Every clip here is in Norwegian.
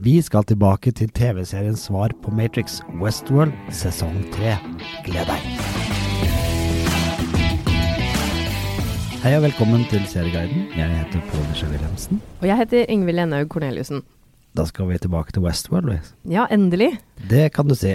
Vi skal tilbake til TV-seriens svar på Matrix Westworld sesong 3. Gled deg! Hei og velkommen til Serieguiden. Jeg heter Pål Nisje Wilhelmsen. Og jeg heter Ingvild Enhaug Corneliussen. Da skal vi tilbake til Westworld. vi. Ja, endelig. Det kan du si.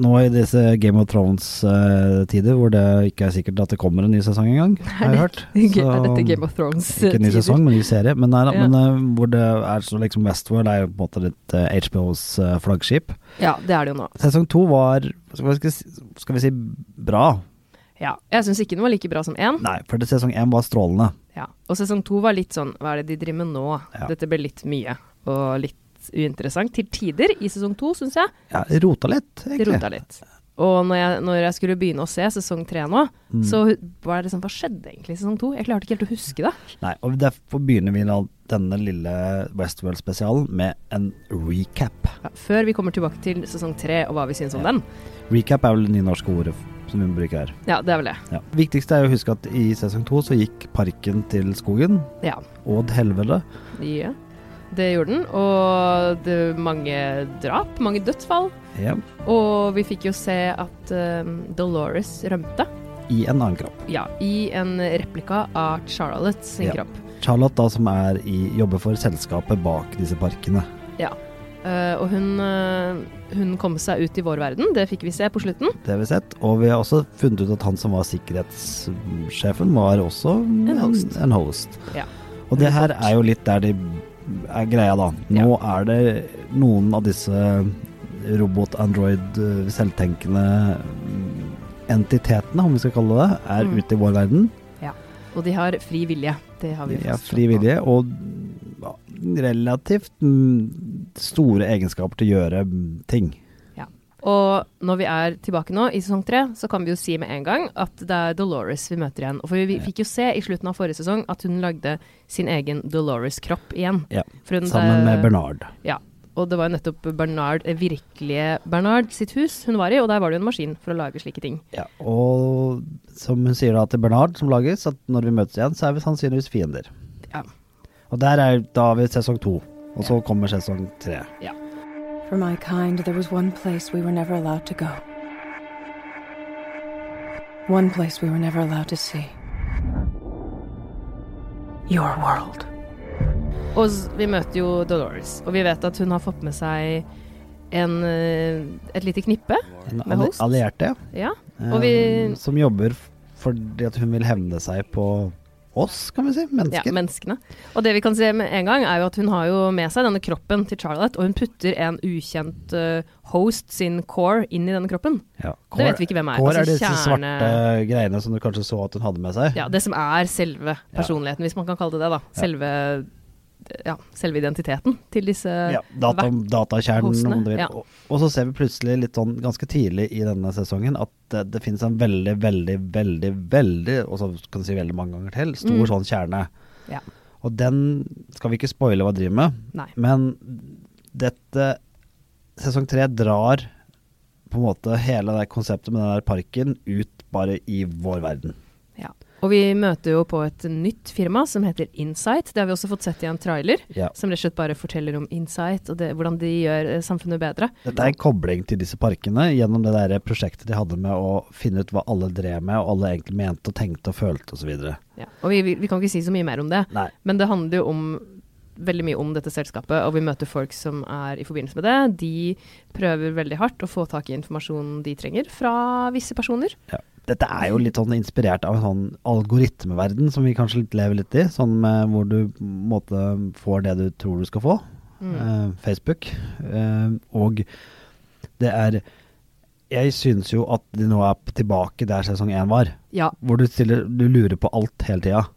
Nå i disse Game of Thrones-tider, hvor det ikke er sikkert at det kommer en ny sesong engang, har jeg hørt. er dette Game of Thrones? eh, Ikke en ny tider? sesong, men en ny serie. Men, nei, da, Ja. men eh, hvor det er så liksom Westworld er jo på en måte litt eh, HBOs eh, flaggskip. Ja, det er det jo nå. Sesong to var skal vi, si- skal vi si bra? Ja. Jeg syns ikke den var like bra som én. Nei, for det- sesong én var strålende. Ja. Og sesong to var litt sånn hva er det de driver med nå? Ja. Dette ble litt mye og litt uinteressant til tider i sesong to, syns jeg. Ja, rota litt, Det egentlig. rota litt. Og når jeg, når jeg skulle begynne å se sesong tre nå, Mm. så var det sånn Hva skjedde egentlig i sesong to? Jeg klarte ikke helt å huske det. Nei, og derfor begynner vi da denne lille Westworld-spesialen med en recap. Ja, før vi kommer tilbake til sesong tre og hva vi syns om den. Recap er vel det nynorske ordet som vi bruker her. Ja, det er vel det. Ja. Viktigste er jo å huske at i sesong to så gikk parken til skogen. Ja. Odd helvete. Ja, det gjorde den. Og det var mange drap, mange dødsfall. Ja. Og vi fikk jo se at eh, Dolores rømte. I en annen kropp. Ja, i en replika av Charlotte sin Ja. kropp. Charlotte da, som er i, jobber for selskapet bak disse parkene. Ja. Eh, og hun, eh, hun kom seg ut i vår verden, det fikk vi se på slutten. Det har vi sett. Og vi har også funnet ut at han som var sikkerhetssjefen, var også en host. En host. Ja. Og det her er jo litt der de er greia, da. Nå er det noen av disse robot, android, eh, selvtenkende mm, entitetene, om vi skal kalle det, er Mm. ute i vår verden. Og de har fri vilje. Det har vi De er fastslått nå. frivillige og ja, relativt mm, store egenskaper til å gjøre mm, ting. Og når vi er tilbake nå, i sesong tre, så kan vi jo si med en gang at det er Dolores vi møter igjen. Og for vi fikk jo se i slutten av forrige sesong at hun lagde sin egen Dolores-kropp igjen. Ja, For hun, Sammen med Bernard. Ja. Og det var jo nettopp Bernard, eh, virkelige Bernard sitt hus hun var i, og der var det jo en maskin for å lage slike ting. Ja, og som hun sier da til Bernard, som lages, at når vi møtes igjen, så er vi sannsynligvis fiender. Ja. Og der er da har vi sesong to, og så kommer sesong tre. ja. For my kind, there was one place we were never allowed to go. One place we were never allowed to see. Your world. Og s- vi møter jo Dolores, og vi vet at hun har fått med seg en, eh, et lite knippe. En Med host? allierte Ja. eh, Og vi- som jobber f- fordi at hun vil hevne seg på oss, kan vi si. ja, Mennesker. menneskene. Og det vi kan se med en gang, er jo at hun har jo med seg denne kroppen til Charlotte, og hun putter en ukjent eh, host sin core inn i denne kroppen. Ja, Det vet vi ikke hvem er. Kår Altså, er disse kjerne- svarte greiene som du kanskje så at hun hadde med seg. Ja, det som er selve personligheten, hvis man kan kalle det det, da. Selve, ja, selve identiteten til disse Ja, data, hvert- datakjernen, om hostene, du vil. ja. Og, og så ser vi plutselig litt sånn ganske tidlig i denne sesongen at det, det finnes en veldig, veldig, veldig, veldig, og så kan du si veldig mange ganger til, Mm. stor sånn kjerne. Ja. Og den skal vi ikke spoile hva driver med, Nei. men dette Sesong tre drar på en måte hele det konseptet med den der parken ut bare i vår verden. Ja. Og vi møter jo på et nytt firma som heter Insight. Det har vi også fått sett i en trailer, Ja. som rett og slett bare forteller om Insight og det, hvordan de gjør eh, samfunnet bedre. Dette er en kobling til disse parkene gjennom det der prosjektet de hadde med å finne ut hva alle drev med, og alle egentlig mente og tenkte og følte osv. Ja. Og vi, vi, vi kan ikke si så mye mer om det, Nei. men det handler jo om veldig mye om dette selskapet, og vi møter folk som er i forbindelse med det. De prøver veldig hardt å få tak i informasjonen de trenger fra visse personer. Ja. Dette er jo litt sånn inspirert av en sånn algoritmeverden som vi kanskje litt lever litt i. Sånn med hvor du på en måte får det du tror du skal få. Mm. Eh, Facebook. Eh, og det er Jeg syns jo at de nå er p- tilbake der sesong én var. Ja, Hvor du, stiller, du lurer på alt hele tida.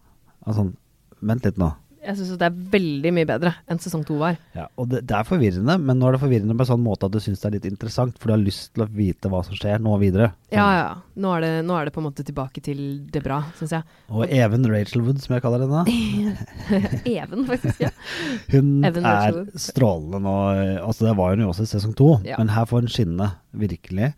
Altså, vent litt nå. Jeg syns det er veldig mye bedre enn sesong to var. Ja, og det, det er forvirrende, men nå er det forvirrende på en sånn måte at du syns det er litt interessant, for du har lyst til å vite hva som skjer nå videre. Ja, ja. Nå er det, nå er det på en måte tilbake til det bra, syns jeg. Sånn. Og Even Rachel Wood, som jeg kaller henne, Even, faktisk. Ja. hun Even er Rachel Wood. strålende nå. Altså, det var hun jo også i sesong to, Ja. men her får hun skinne, virkelig.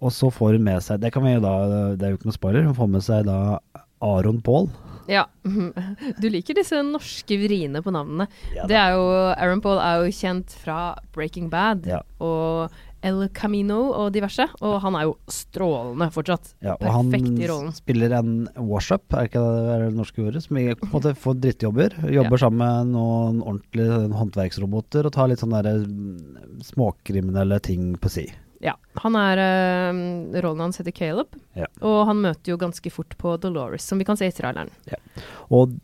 Og så får hun med seg, det kan vi jo da, det er jo ikke noe spoiler, hun får med seg da Aron Paul, Ja. Du liker disse norske vriene på navnene. Ja, det er jo, Aaron Paul er jo kjent fra Breaking Bad Ja. og El Camino og diverse. Og han er jo strålende fortsatt. Ja, og han Perfekt i rollen. spiller en wash-up, er ikke det det er det norske ordet? Som i- på en måte får drittjobber. Jobber sammen med noen ordentlige håndverksroboter og tar litt sånne der, mm, småkriminelle ting på si. Ja, han er, eh, Rollen hans heter Caleb, Ja. og han møter jo ganske fort på Dolores, som vi kan se i traileren. Og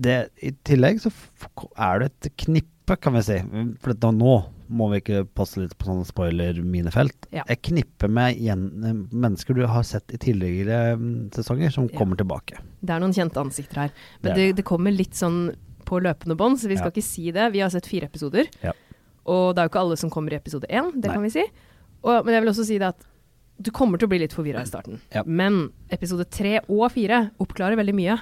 det, i tillegg så f- er det et knippe, kan vi si. Mm, For da, nå må vi ikke passe litt på sånne spoiler-minefelt. Ja. Et knippe med gjen, mennesker du har sett i tidligere mm, sesonger, som Ja. kommer tilbake. Det er noen kjente ansikter her. Det Men er det, det kommer litt sånn på løpende bånd, så vi skal Ja. ikke si det. Vi har sett fire episoder, Ja. og det er jo ikke alle som kommer i episode én, det Nei. kan vi si. Og, men jeg vil også si det at du kommer til å bli litt forvirra i starten. Ja. Men episode tre og fire oppklarer veldig mye.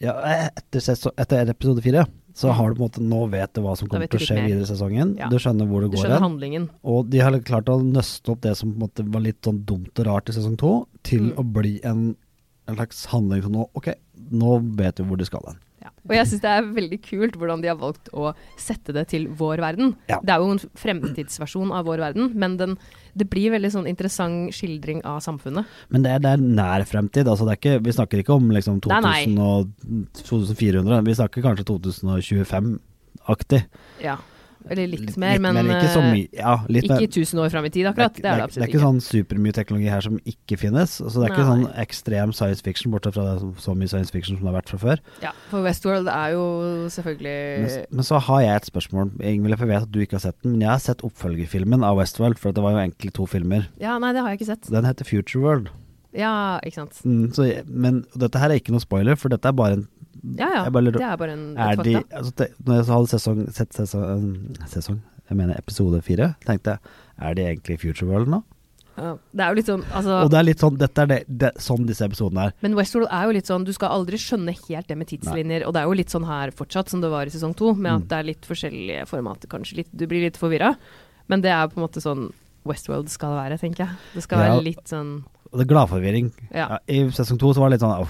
Ja, etter, seso- etter episode fire så har du på en måte nå vet du hva som Mm. Da kommer vet til du å skje litt mer. videre i sesongen. Ja. Du skjønner hvor det Du går skjønner hen. handlingen. Og de har klart å nøste opp det som på en måte var litt sånn dumt og rart i sesong to, til Mm. å bli en, en slags handling som nå Ok, nå vet vi hvor de skal hen. Ja. Og jeg syns det er veldig kult hvordan de har valgt å sette det til vår verden. Ja. Det er jo en fremtidsversjon av vår verden, men den, det blir veldig sånn interessant skildring av samfunnet. Men det er, det er nær fremtid. Altså det er ikke, vi snakker ikke om liksom Nei, 2000 nei. og 2400, vi snakker kanskje 2025-aktig. Ja. Eller litt, mer, litt men mer, ikke så eh, mye. Ja, litt ikke mer. tusen år fram i tid, akkurat. Det er det det er absolutt ikke ikke. sånn supermye teknologi her som ikke finnes. Så det er ikke Nei. sånn ekstrem science fiction, bortsett fra det er så- så mye science fiction som det har vært fra før. Ja, for Westworld er jo Men, selvfølgelig men så har jeg et spørsmål, Ingvild, for jeg vet at du ikke har sett den. Men jeg har sett oppfølgerfilmen av Westworld, for det var jo egentlig to filmer. Ja, nei, det har jeg ikke sett. Den heter Future World. Ja, ikke sant. Mm, så jeg, men dette her er ikke noe spoiler, for dette er bare en Ja ja, Jeg bare lurer- det er bare en er et de, fakta. altså, te, Når jeg så hadde sesong, sett sesong, sesong Jeg mener episode fire, tenkte jeg er de egentlig i Future World nå? Ja, Det er jo litt sånn, altså Og det er litt sånn, dette er det, det, sånn disse episodene er. Men Westworld er jo litt sånn, du skal aldri skjønne helt det med tidslinjer, og det er jo litt sånn her fortsatt som det var i sesong to, med Mm. at det er litt forskjellige formater, kanskje litt, du blir litt forvirra. Men det er på en måte sånn Westworld skal være, tenker jeg. Det skal Ja. være litt sånn Og det er gladforvirring. Ja. Ja, I sesong to så var det litt sånn åh,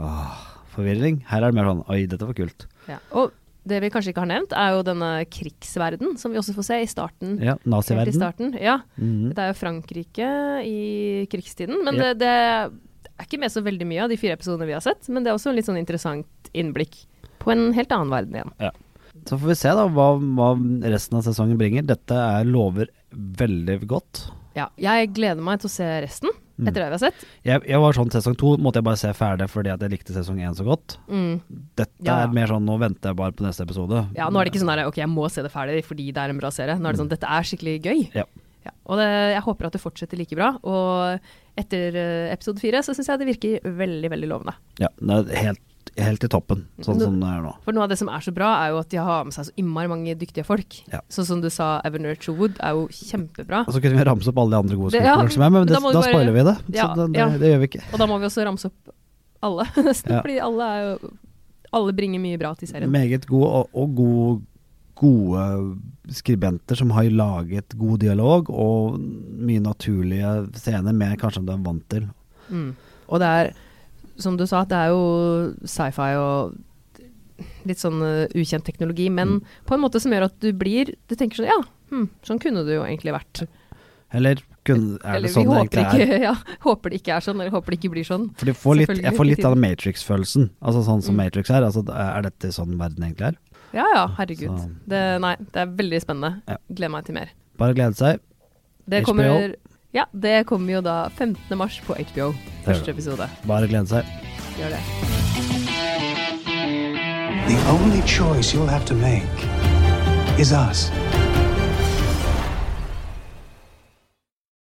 åh, forvirring. Her er det mer sånn oi, dette var kult. ja. Og det vi kanskje ikke har nevnt, er jo denne krigsverden, som vi også får se i starten. Ja, Helt i Naziverden. starten. Ja. Mhm. Det er jo Frankrike i krigstiden, men Ja. det, det er ikke med så veldig mye av de fire episodene vi har sett, men det er også en litt sånn interessant innblikk på en helt annen verden igjen. Så får vi se da hva, hva resten av sesongen bringer. Dette er lover veldig godt. Ja, jeg gleder meg til å se resten Mm. etter det vi har sett. Jeg, jeg var sånn sesong to måtte jeg bare se ferdig fordi at jeg likte sesong én så godt. Mm. Dette Ja, ja. er mer sånn nå venter jeg bare på neste episode. Ja, nå er det ikke sånn der, ok, jeg må se det ferdig fordi det er en bra serie. Nå er det sånn, dette er skikkelig gøy. Mm. Ja. Ja, og det, jeg håper at det fortsetter like bra. Og etter eh, episode fire så syns jeg det virker veldig, veldig lovende. Ja, det er helt, helt i toppen, sånn Nå- som det er nå. For noe av det som er så bra, er jo at de har med seg så innmari mange dyktige folk. Ja. Sånn som du sa, Evan Rachel Wood er jo kjempebra. Og så kunne vi ramse opp alle de andre gode Det- ja, skuespillerne som er med, men det, da må da, vi bare- spoiler vi det. så Ja, det, det, ja. det gjør vi ikke. Og da må vi også ramse opp alle, nesten. Altså- Ja. Fordi alle, er jo, alle bringer mye bra til serien. Meget gode og, og gode, gode skribenter som har laget god dialog og mye naturlige scener, mer kanskje enn du er vant til. Mm. Og det er, som du sa, det er jo sci-fi og litt sånn eh, ukjent teknologi, Mm. men på en måte som gjør at du blir Du tenker sånn Ja, hm, sånn kunne det jo egentlig vært. Eller kunne, er Eller det sånn vi det håper, egentlig er? ikke, ja, håper det ikke er sånn, eller håper det ikke blir sånn. For de får litt, jeg Selvfølgelig, får litt til av den Matrix-følelsen, altså sånn som Mm. Matrix er. Altså, er dette sånn verden egentlig er? Ja ja, herregud. Så- Det, nei, det er veldig spennende. Sånn. Ja. Gleder meg til mer. Bare glede seg. Det HBO. kommer, ja, det kommer jo da 15. mars på HBO. gjør Første det. episode. Bare glede seg. Gjør det. The only choice you'll have to make is us.